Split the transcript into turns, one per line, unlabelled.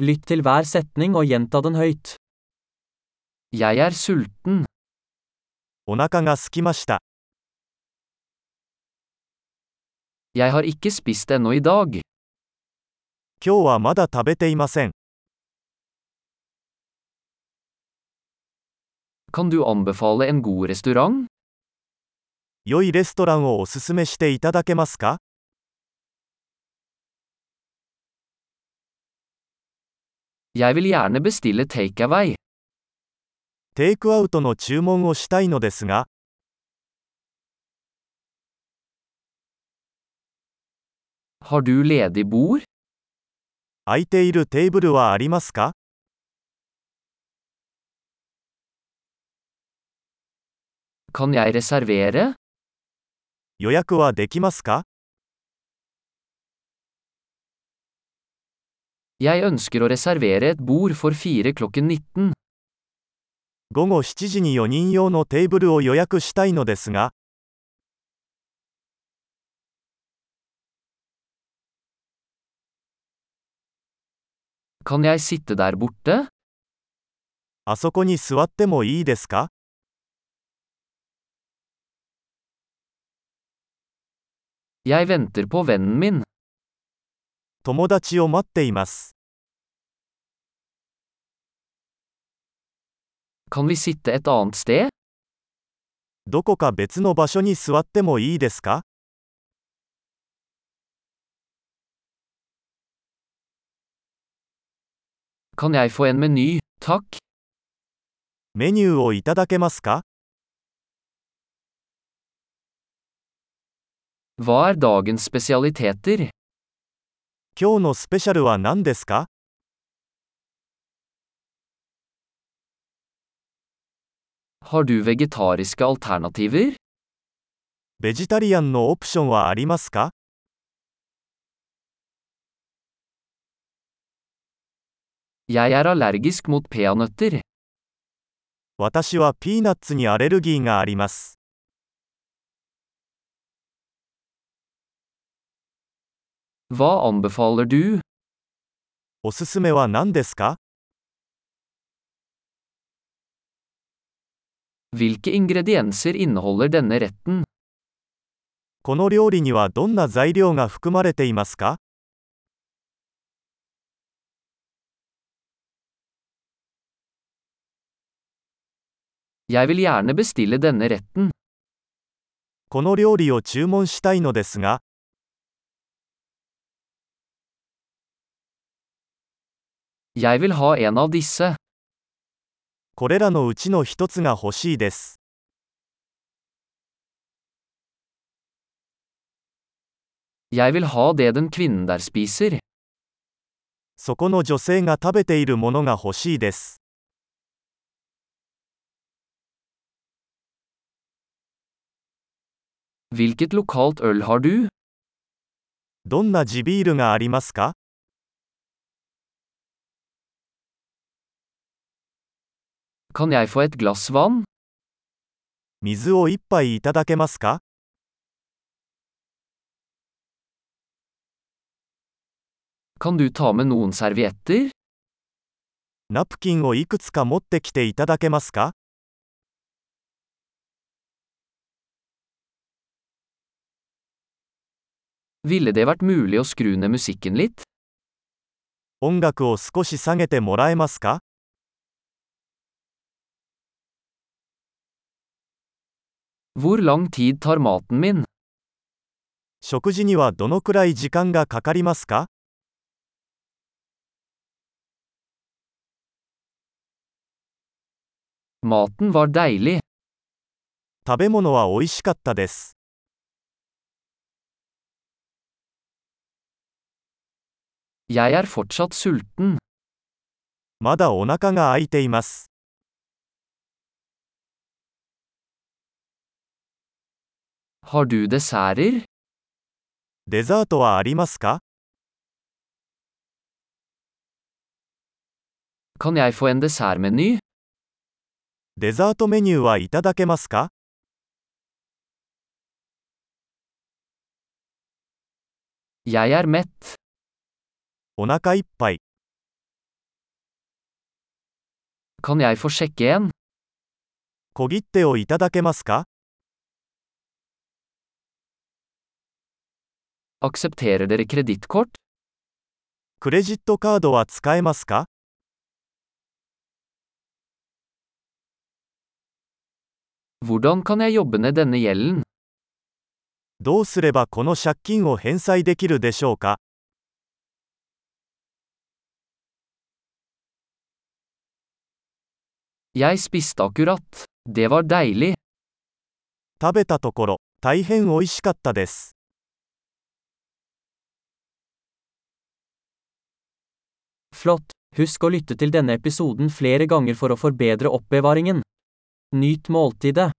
Lytt til hver setning og gjenta den høyt. Jeg er sulten.
お腹が空きました。
Jeg har ikke spist ennå i dag.
今日はまだ食べていません。
Kan du anbefale en god restaurant?
良いレストランをおすすめしていただけますか
Jeg vil gjerne bestille takeaway.
テイクアウトの注文をしたいのですが、
Har du ledig bord?
空いているテーブルはありますか
Kan jeg reservere?
予約はできますか
Jeg ønsker å reservere et bord for fire klokken 19.
午後7時に4人用のテーブルを予約したいのですが、
Kan jeg sitte der borte?
あそこに座ってもいいですか
Jeg venter på vennen min.
友達を待っています。
Kan vi sitte et annet sted?
どこか別の場所に座ってもいいですか
Kan jeg få en meny? Takk.
メニューをいただけますか
Hva er dagens spesialiteter?
今日のスペシャルは何ですか
Har du vegetariske alternativer?
ベジタリアンのオプションはありますか
Jeg er allergisk mot peanøtter.
私はピーナッツにアレルギーがあります。
Hva anbefaler du?
おすすめは何ですか
Hvilke ingredienser inneholder denne retten?
この料理にはどんな材料が含まれていますか
Jeg vil gjerne bestille denne retten.
この料理を注文したいのですが、
Jeg vil ha en av disse.
これらのうちの一つが欲しいです。
Jeg vil ha det den kvinnen der spiser.
そこの女性が食べているものが欲しいです。
Hvilket lokalt øl har du?
どんな地ビールがありますか
Kan jeg få et glass vann?
水を一杯いただけますか
Kan du ta med noen servietter?
ナプキンをいくつか持ってきていただけますか
Ville det vært mulig å skru ned musikken litt?
音楽を少し下げてもらえますか
Hvor lang tid tar maten min?
食事にはどのくらい時間がかかりますか
Maten var deilig.
食べ物は美味しかったです。
Jeg er fortsatt sulten.
まだお腹が空いています。
Har du desserter?
デザートはありますか
Kan jeg få en dessertmeny?
デザートメニューはいただけますか
Jeg er mett.
お腹いっぱい。
Kan jeg få sjekke en?
小切手をいただけますか
Aksepterer dere kredittkort?
クレジットカードは使えますか
Hvordan kan jeg jobbe ned denne gjelden?
どうすればこの借金を返済できるでしょうか
Jeg spiste akkurat. Det var deilig.
食べたところ、大変美味しかったです。
Flott. Husk å lytte til denne episoden flere ganger for å forbedre oppbevaringen. Nyt måltidet.